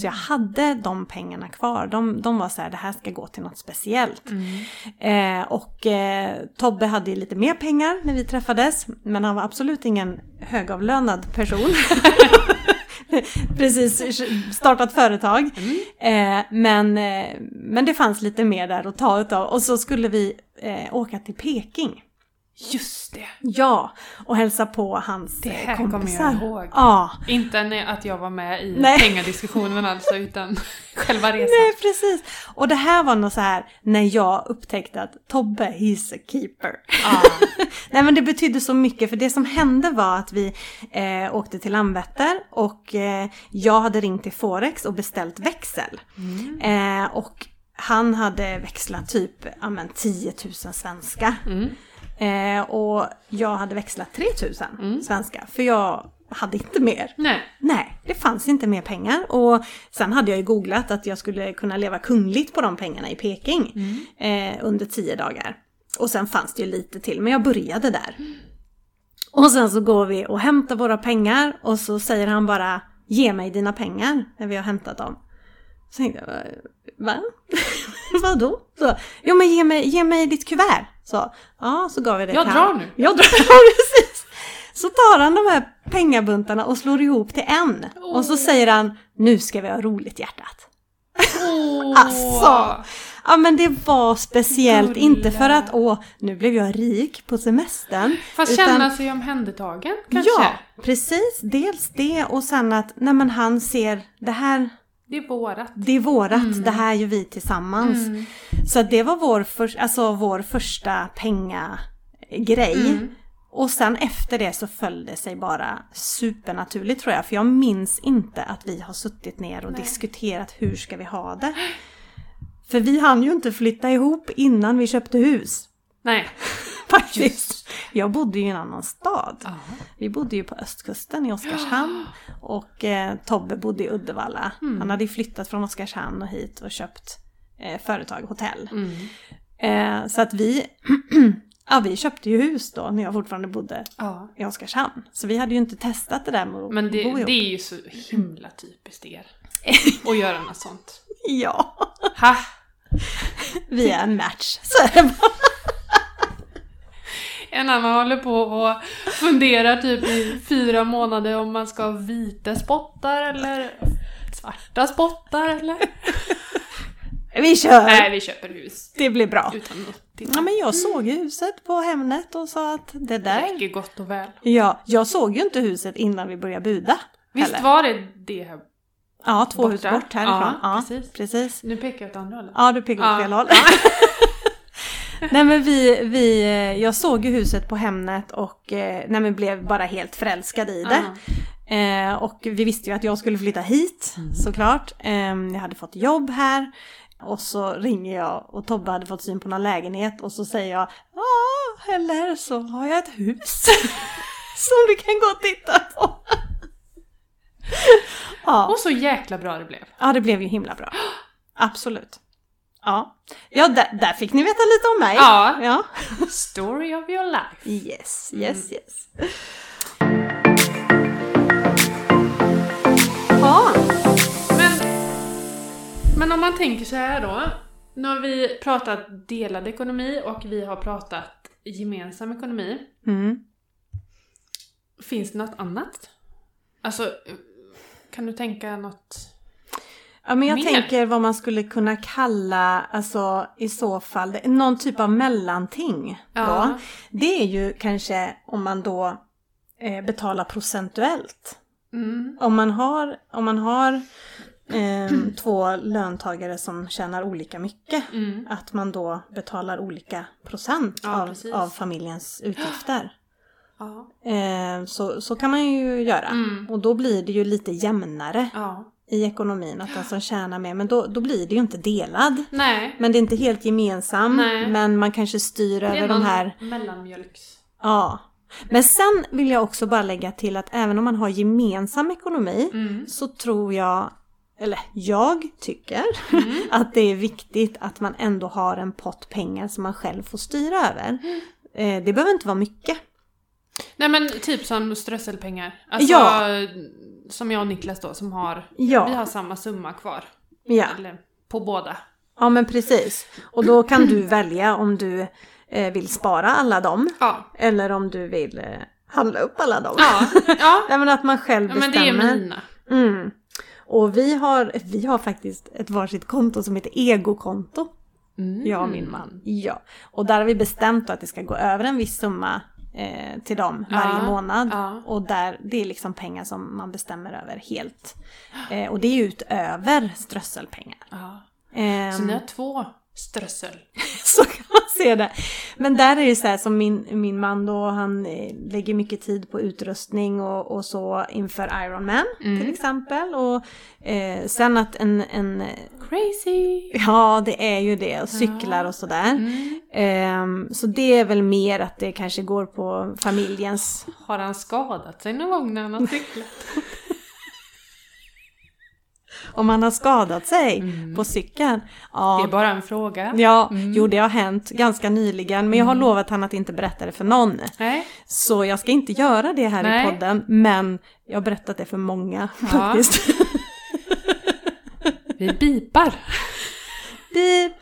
[SPEAKER 2] Så jag hade de pengarna kvar. De, de var så här, det här ska gå till något speciellt.
[SPEAKER 1] Mm.
[SPEAKER 2] Eh, och eh, Tobbe hade ju lite mer pengar när vi träffades, men han var absolut ingen högavlönad person. precis startat företag.
[SPEAKER 1] Mm.
[SPEAKER 2] Eh, men, eh, men det fanns lite mer där att ta utav och så skulle vi eh, åka till Peking.
[SPEAKER 1] Just det!
[SPEAKER 2] Ja, och hälsa på hans
[SPEAKER 1] Det
[SPEAKER 2] eh,
[SPEAKER 1] här kommer jag
[SPEAKER 2] kompisar.
[SPEAKER 1] ihåg.
[SPEAKER 2] Ja,
[SPEAKER 1] Inte när- att jag var med i
[SPEAKER 2] Nej.
[SPEAKER 1] pengadiskussionen alltså, utan själva resan.
[SPEAKER 2] nej precis. Och det här var nog så här när jag upptäckte att Tobbe, he's a keeper.
[SPEAKER 1] Ah.
[SPEAKER 2] Nej men det betydde så mycket för det som hände var att vi eh, åkte till Landvetter och eh, jag hade ringt till Forex och beställt växel.
[SPEAKER 1] Mm.
[SPEAKER 2] Eh, och han hade växlat typ ja, men 10 000 svenska.
[SPEAKER 1] Mm.
[SPEAKER 2] Eh, och jag hade växlat 3 000
[SPEAKER 1] Mm.
[SPEAKER 2] svenska för jag hade inte mer.
[SPEAKER 1] Nej.
[SPEAKER 2] Nej, det fanns inte mer pengar. Och sen hade jag ju googlat att jag skulle kunna leva kungligt på de pengarna i Peking eh, under tio dagar. Och sen fanns det ju lite till, men jag började där. Och sen så går vi och hämtar våra pengar och så säger han bara Ge mig dina pengar när vi har hämtat dem. Så tänkte jag, va? Vadå? Så, jo men ge mig, ge mig ditt kuvert. Så, ja, så gav jag det
[SPEAKER 1] Jag
[SPEAKER 2] till
[SPEAKER 1] drar
[SPEAKER 2] han.
[SPEAKER 1] nu.
[SPEAKER 2] Jag drar, ja, precis. Så tar han de här pengabuntarna och slår ihop till en. Och så
[SPEAKER 1] Åh.
[SPEAKER 2] säger han, nu ska vi ha roligt hjärtat.
[SPEAKER 1] Åh.
[SPEAKER 2] Alltså. Ja men det var speciellt,
[SPEAKER 1] Gulla.
[SPEAKER 2] inte för att åh, nu blev jag rik på semestern.
[SPEAKER 1] Fast
[SPEAKER 2] utan-
[SPEAKER 1] känna sig omhändertagen kanske?
[SPEAKER 2] Ja, precis. Dels det och sen att nej men han ser det här,
[SPEAKER 1] Det är vårat.
[SPEAKER 2] det är vårat, det här gör vi tillsammans.
[SPEAKER 1] Mm.
[SPEAKER 2] Så att det var vår, för, alltså, vår första pengagrej.
[SPEAKER 1] Mm.
[SPEAKER 2] Och sen efter det så föll det sig bara supernaturligt tror jag. För jag minns inte att vi har suttit ner och
[SPEAKER 1] Nej.
[SPEAKER 2] diskuterat hur ska vi ha det. För vi hann ju inte flytta ihop innan vi köpte hus.
[SPEAKER 1] Nej.
[SPEAKER 2] Faktiskt. Jag bodde ju i en annan stad.
[SPEAKER 1] Ja.
[SPEAKER 2] Vi bodde ju på östkusten i Oskarshamn och eh, Tobbe bodde i Uddevalla.
[SPEAKER 1] Mm.
[SPEAKER 2] Han hade ju flyttat från Oskarshamn och hit och köpt eh, företag, hotell.
[SPEAKER 1] Mm.
[SPEAKER 2] Eh, så att vi, ja, vi köpte ju hus då när jag fortfarande bodde
[SPEAKER 1] ja.
[SPEAKER 2] i Oskarshamn. Så vi hade ju inte testat det där med att
[SPEAKER 1] Men
[SPEAKER 2] bo
[SPEAKER 1] det,
[SPEAKER 2] ihop.
[SPEAKER 1] det är ju så himla typiskt er. Att göra något sånt.
[SPEAKER 2] Ja,
[SPEAKER 1] Ha!
[SPEAKER 2] vi är en match. Så är det bara.
[SPEAKER 1] En annan håller på och funderar typ i fyra månader om man ska ha vita spottar eller svarta spottar eller...
[SPEAKER 2] Vi kör!
[SPEAKER 1] Nej, vi köper hus.
[SPEAKER 2] Det blir bra.
[SPEAKER 1] Utan att titta.
[SPEAKER 2] Ja, men jag såg ju huset på Hemnet och sa att det
[SPEAKER 1] Det
[SPEAKER 2] där...
[SPEAKER 1] räcker gott och väl.
[SPEAKER 2] Ja, jag såg ju inte huset innan vi började buda.
[SPEAKER 1] Visst
[SPEAKER 2] heller.
[SPEAKER 1] var det det här?
[SPEAKER 2] Ja, två hus
[SPEAKER 1] borta?
[SPEAKER 2] bort härifrån.
[SPEAKER 1] Ja,
[SPEAKER 2] Ja,
[SPEAKER 1] precis.
[SPEAKER 2] precis.
[SPEAKER 1] Nu pekar jag åt andra hållet.
[SPEAKER 2] Ja, du pekar åt
[SPEAKER 1] Ja.
[SPEAKER 2] fel håll. nej men vi, vi, eh, jag såg ju huset på Hemnet och eh, nej, men blev bara helt förälskad i det. Eh, och vi visste ju att jag skulle flytta hit såklart. Eh, jag hade fått jobb här. Och så ringer jag och Tobbe hade fått syn på någon lägenhet och så säger jag Ja, eller så har jag ett hus som du kan gå och titta på. ja.
[SPEAKER 1] Och så jäkla bra det blev.
[SPEAKER 2] ja, det blev ju himla bra. Absolut. Ja, ja där, där fick ni veta lite om mig.
[SPEAKER 1] Ja.
[SPEAKER 2] ja. Mm.
[SPEAKER 1] Story of your life.
[SPEAKER 2] Yes, yes, yes. Ja.
[SPEAKER 1] Men, men om man tänker så här då. Nu har vi pratat delad ekonomi och vi har pratat gemensam ekonomi.
[SPEAKER 2] Mm.
[SPEAKER 1] Finns det något annat? Alltså, kan du tänka något?
[SPEAKER 2] Ja, men jag
[SPEAKER 1] Mer?
[SPEAKER 2] tänker vad man skulle kunna kalla, alltså i så fall, det- någon typ av mellanting. Då.
[SPEAKER 1] Ja.
[SPEAKER 2] Det är ju kanske om man då eh, betalar procentuellt.
[SPEAKER 1] Mm.
[SPEAKER 2] Om man har, om man har ehm, två löntagare som tjänar olika mycket,
[SPEAKER 1] Mm.
[SPEAKER 2] att man då betalar olika procent
[SPEAKER 1] Ja,
[SPEAKER 2] av,
[SPEAKER 1] precis.
[SPEAKER 2] av familjens utgifter.
[SPEAKER 1] Ja.
[SPEAKER 2] Eh, så, så kan man ju göra.
[SPEAKER 1] Mm.
[SPEAKER 2] Och då blir det ju lite jämnare
[SPEAKER 1] ja.
[SPEAKER 2] i ekonomin. Att den som tjänar mer, men då, då blir det ju inte delad.
[SPEAKER 1] Nej.
[SPEAKER 2] Men det är inte helt gemensam.
[SPEAKER 1] Nej.
[SPEAKER 2] Men man kanske styr
[SPEAKER 1] Det
[SPEAKER 2] över
[SPEAKER 1] är
[SPEAKER 2] de
[SPEAKER 1] någon
[SPEAKER 2] här.
[SPEAKER 1] mellanmjölks...
[SPEAKER 2] Ja. Men sen vill jag också bara lägga till att även om man har gemensam ekonomi
[SPEAKER 1] Mm.
[SPEAKER 2] så tror jag, eller jag tycker,
[SPEAKER 1] Mm.
[SPEAKER 2] att det är viktigt att man ändå har en pott pengar som man själv får styra över.
[SPEAKER 1] Mm.
[SPEAKER 2] Eh, det behöver inte vara mycket.
[SPEAKER 1] Nej men typ som strösselpengar. Alltså,
[SPEAKER 2] Ja.
[SPEAKER 1] Som jag och Niklas då som har, vi
[SPEAKER 2] Ja.
[SPEAKER 1] har samma summa kvar.
[SPEAKER 2] ja.
[SPEAKER 1] Eller på båda.
[SPEAKER 2] Ja men precis. Och då kan du välja om du eh, vill spara alla dem
[SPEAKER 1] Ja.
[SPEAKER 2] eller om du vill eh, handla upp alla dem.
[SPEAKER 1] Ja. ja.
[SPEAKER 2] Nej men att man själv
[SPEAKER 1] Ja men det är
[SPEAKER 2] bestämmer.
[SPEAKER 1] mina.
[SPEAKER 2] Mm. Och vi har, vi har faktiskt ett varsitt konto som heter egokonto.
[SPEAKER 1] Mm.
[SPEAKER 2] Jag och min man. Ja. Och där har vi bestämt då att det ska gå över en viss summa eh, till dem varje
[SPEAKER 1] Ja,
[SPEAKER 2] månad.
[SPEAKER 1] ja.
[SPEAKER 2] Och där, det är liksom pengar som man bestämmer över helt. Eh, och det är utöver strösselpengar.
[SPEAKER 1] Ja.
[SPEAKER 2] Ehm,
[SPEAKER 1] Så ni har två strössel.
[SPEAKER 2] så kan man se det. Men där är det så här som min, min man då, han eh, lägger mycket tid på utrustning och, och så inför Iron Man till exempel. Och eh, sen att en, en,
[SPEAKER 1] Crazy!
[SPEAKER 2] ja det är ju det, och cyklar och sådär. Ehm, så det är väl mer att det kanske går på familjens...
[SPEAKER 1] Har han skadat sig någon gång när han har cyklat?
[SPEAKER 2] Om man har skadat sig på cykeln.
[SPEAKER 1] Det
[SPEAKER 2] Ja,
[SPEAKER 1] är bara en fråga.
[SPEAKER 2] ja jo det har hänt ganska nyligen. Men jag har lovat han att inte berätta det för någon.
[SPEAKER 1] Nej.
[SPEAKER 2] Så jag ska inte göra det här i
[SPEAKER 1] Nej.
[SPEAKER 2] podden, men jag har berättat det för många
[SPEAKER 1] Ja.
[SPEAKER 2] faktiskt.
[SPEAKER 1] Vi bipar.
[SPEAKER 2] Beep.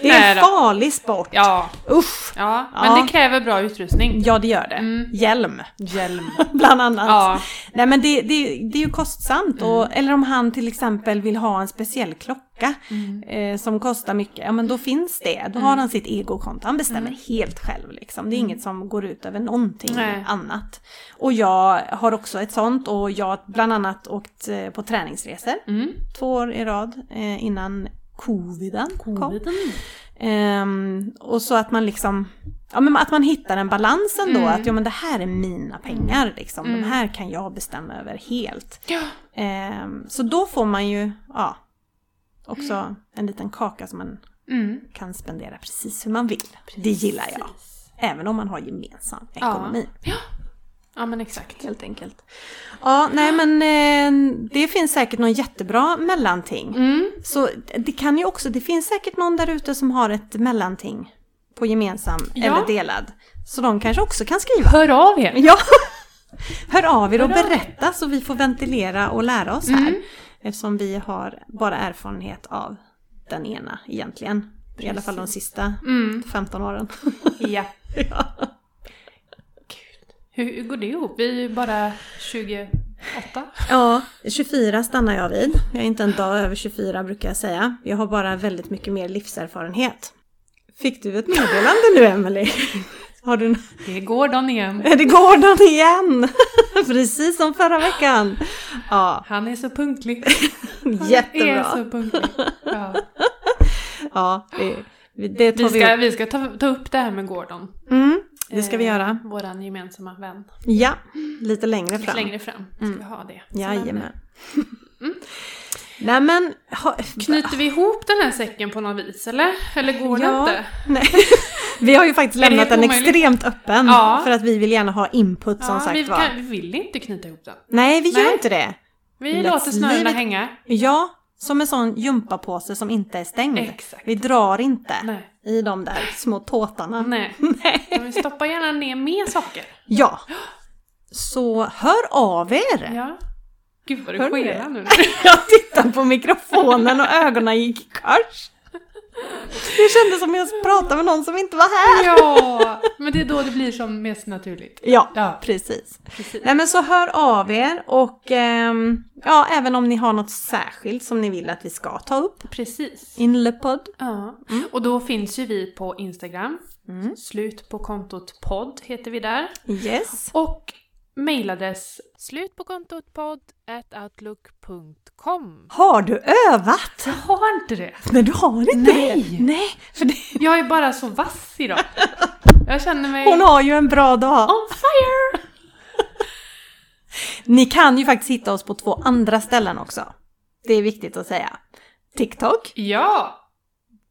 [SPEAKER 2] Det är
[SPEAKER 1] Nej
[SPEAKER 2] en
[SPEAKER 1] då.
[SPEAKER 2] farlig sport.
[SPEAKER 1] Ja.
[SPEAKER 2] Usch!
[SPEAKER 1] ja. Men
[SPEAKER 2] Ja.
[SPEAKER 1] det kräver bra utrustning.
[SPEAKER 2] Ja, det gör det.
[SPEAKER 1] Mm.
[SPEAKER 2] Hjälm,
[SPEAKER 1] Hjälm.
[SPEAKER 2] bland annat.
[SPEAKER 1] Ja. Mm.
[SPEAKER 2] Nej, men det, det, det är ju kostsamt. Och, eller om han till exempel vill ha en speciell klocka
[SPEAKER 1] Mm.
[SPEAKER 2] eh, som kostar mycket, ja men då finns det. Då har han sitt egokonto. Han bestämmer
[SPEAKER 1] Mm.
[SPEAKER 2] helt själv liksom. Det är inget som går ut över någonting
[SPEAKER 1] Nej.
[SPEAKER 2] annat. Och jag har också ett sånt och jag har bland annat åkt eh, på träningsresor
[SPEAKER 1] Mm.
[SPEAKER 2] två år i rad eh, innan coviden kom.
[SPEAKER 1] Coviden.
[SPEAKER 2] Ehm, och så att man liksom, ja men att man hittar en balans ändå,
[SPEAKER 1] Mm.
[SPEAKER 2] att ja men det här är mina pengar liksom, de
[SPEAKER 1] Mm.
[SPEAKER 2] här kan jag bestämma över helt.
[SPEAKER 1] Ja.
[SPEAKER 2] Ehm, så då får man ju, ja, också en liten kaka som man
[SPEAKER 1] Mm.
[SPEAKER 2] kan spendera precis hur man vill. Det gillar jag. Även om man har gemensam
[SPEAKER 1] Ja.
[SPEAKER 2] ekonomi,
[SPEAKER 1] Ja men exakt.
[SPEAKER 2] helt enkelt. Ja, nej men eh, det finns säkert någon jättebra mellanting.
[SPEAKER 1] Mm.
[SPEAKER 2] Så det kan ju också, det finns säkert någon där ute som har ett mellanting på gemensam
[SPEAKER 1] Ja.
[SPEAKER 2] eller delad. Så de kanske också kan skriva.
[SPEAKER 1] Hör av er!
[SPEAKER 2] Ja! Hör av er och
[SPEAKER 1] Hör av er. Mm.
[SPEAKER 2] berätta så vi får ventilera och lära oss här. Eftersom vi har bara erfarenhet av den ena egentligen. I alla fall de sista
[SPEAKER 1] Mm.
[SPEAKER 2] 15 åren.
[SPEAKER 1] Ja.
[SPEAKER 2] Ja.
[SPEAKER 1] Gud. Hur, hur går det ihop? Vi är ju bara 28.
[SPEAKER 2] Ja, 24 stannar jag vid. Jag är inte en dag över 24 brukar jag säga. Jag har bara väldigt mycket mer livserfarenhet. Fick du ett meddelande nu Emelie? Har du...
[SPEAKER 1] Det går Don igen.
[SPEAKER 2] Är det Gordon igen? Precis som förra veckan! Ja,
[SPEAKER 1] Han är så punktlig. Han är
[SPEAKER 2] jättebra.
[SPEAKER 1] så punktlig. Ja.
[SPEAKER 2] Ja, det, vi- det tar
[SPEAKER 1] Vi
[SPEAKER 2] vi
[SPEAKER 1] ska,
[SPEAKER 2] upp.
[SPEAKER 1] vi ska ta, ta upp det här med Gordon.
[SPEAKER 2] Mm, det ska vi
[SPEAKER 1] Eh,
[SPEAKER 2] göra.
[SPEAKER 1] Våran gemensamma vän.
[SPEAKER 2] Ja, lite längre
[SPEAKER 1] Lite
[SPEAKER 2] fram. Mm.
[SPEAKER 1] längre fram Mm. ska vi ha det. som ämne.
[SPEAKER 2] Jajamän. Nej men... Ha,
[SPEAKER 1] Knyter vi ihop den här säcken på något vis eller? Eller går det
[SPEAKER 2] Ja.
[SPEAKER 1] inte?
[SPEAKER 2] nej. Vi har ju faktiskt
[SPEAKER 1] det
[SPEAKER 2] lämnat den
[SPEAKER 1] omöjligt?
[SPEAKER 2] extremt öppen.
[SPEAKER 1] Ja.
[SPEAKER 2] För att vi vill gärna ha input som
[SPEAKER 1] vi,
[SPEAKER 2] sagt
[SPEAKER 1] kan, vi
[SPEAKER 2] var.
[SPEAKER 1] vill inte knyta ihop den.
[SPEAKER 2] Nej, vi gör
[SPEAKER 1] Nej.
[SPEAKER 2] inte det.
[SPEAKER 1] Vi
[SPEAKER 2] Let's
[SPEAKER 1] låter snörena
[SPEAKER 2] leave it.
[SPEAKER 1] hänga.
[SPEAKER 2] Ja, som en sån gympapåse som inte är stängd.
[SPEAKER 1] Exakt.
[SPEAKER 2] Vi drar inte
[SPEAKER 1] Nej.
[SPEAKER 2] i de där små tåtarna.
[SPEAKER 1] Nej. Men vi stoppar gärna ner mer saker.
[SPEAKER 2] Ja. Så hör av er!
[SPEAKER 1] Ja. Gud vad du
[SPEAKER 2] Hör du
[SPEAKER 1] skerar
[SPEAKER 2] det?
[SPEAKER 1] nu.
[SPEAKER 2] Jag tittade på mikrofonen och ögonen gick i kors. Det kändes som jag pratade med någon som inte var här.
[SPEAKER 1] Ja, men det är då det blir som mest naturligt.
[SPEAKER 2] Ja,
[SPEAKER 1] Ja.
[SPEAKER 2] precis.
[SPEAKER 1] Precis.
[SPEAKER 2] Nej men så hör av er och ehm, ja, även om ni har något särskilt som ni vill att vi ska ta upp.
[SPEAKER 1] Precis.
[SPEAKER 2] Inlepod.
[SPEAKER 1] Ja.
[SPEAKER 2] Mm.
[SPEAKER 1] Och då finns ju vi på Instagram. Slut på kontot podd heter vi där.
[SPEAKER 2] Yes.
[SPEAKER 1] Och mejladress slutpåkontotpodd.outlook.com
[SPEAKER 2] Har du övat?
[SPEAKER 1] Jag har inte det!
[SPEAKER 2] Nej, du har inte
[SPEAKER 1] Nej.
[SPEAKER 2] det. Nej! För det,
[SPEAKER 1] Jag är bara så vass idag. Jag känner mig
[SPEAKER 2] hon har ju en bra dag.
[SPEAKER 1] on fire!
[SPEAKER 2] Ni kan ju faktiskt hitta oss på två andra ställen också. Det är viktigt att säga. TikTok.
[SPEAKER 1] Ja!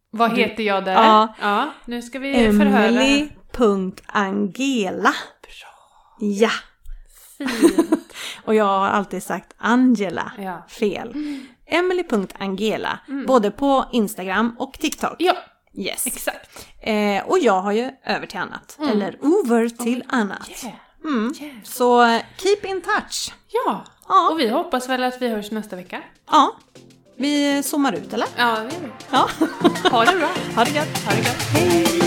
[SPEAKER 1] Vad heter jag där?
[SPEAKER 2] Ja.
[SPEAKER 1] ja nu ska vi förhöra.
[SPEAKER 2] Emily.angela.
[SPEAKER 1] Bra,
[SPEAKER 2] Ja.
[SPEAKER 1] fint.
[SPEAKER 2] Och jag har alltid sagt Angela.
[SPEAKER 1] Ja. Mm.
[SPEAKER 2] Fel. Emily.angela. Både på Instagram och TikTok.
[SPEAKER 1] ja,
[SPEAKER 2] Yes.
[SPEAKER 1] exakt.
[SPEAKER 2] Eh, och jag har ju över till annat.
[SPEAKER 1] Mm.
[SPEAKER 2] Eller over till annat.
[SPEAKER 1] Yeah.
[SPEAKER 2] Mm.
[SPEAKER 1] Yeah.
[SPEAKER 2] Så eh, keep in touch.
[SPEAKER 1] Ja,
[SPEAKER 2] Ja.
[SPEAKER 1] och vi hoppas väl att vi hörs nästa vecka.
[SPEAKER 2] Ja. Vi zoomar ut eller?
[SPEAKER 1] Ja, det gör vi.
[SPEAKER 2] Ja.
[SPEAKER 1] Ha det bra!
[SPEAKER 2] Ha det gött.
[SPEAKER 1] Ha det gott!
[SPEAKER 2] Hej.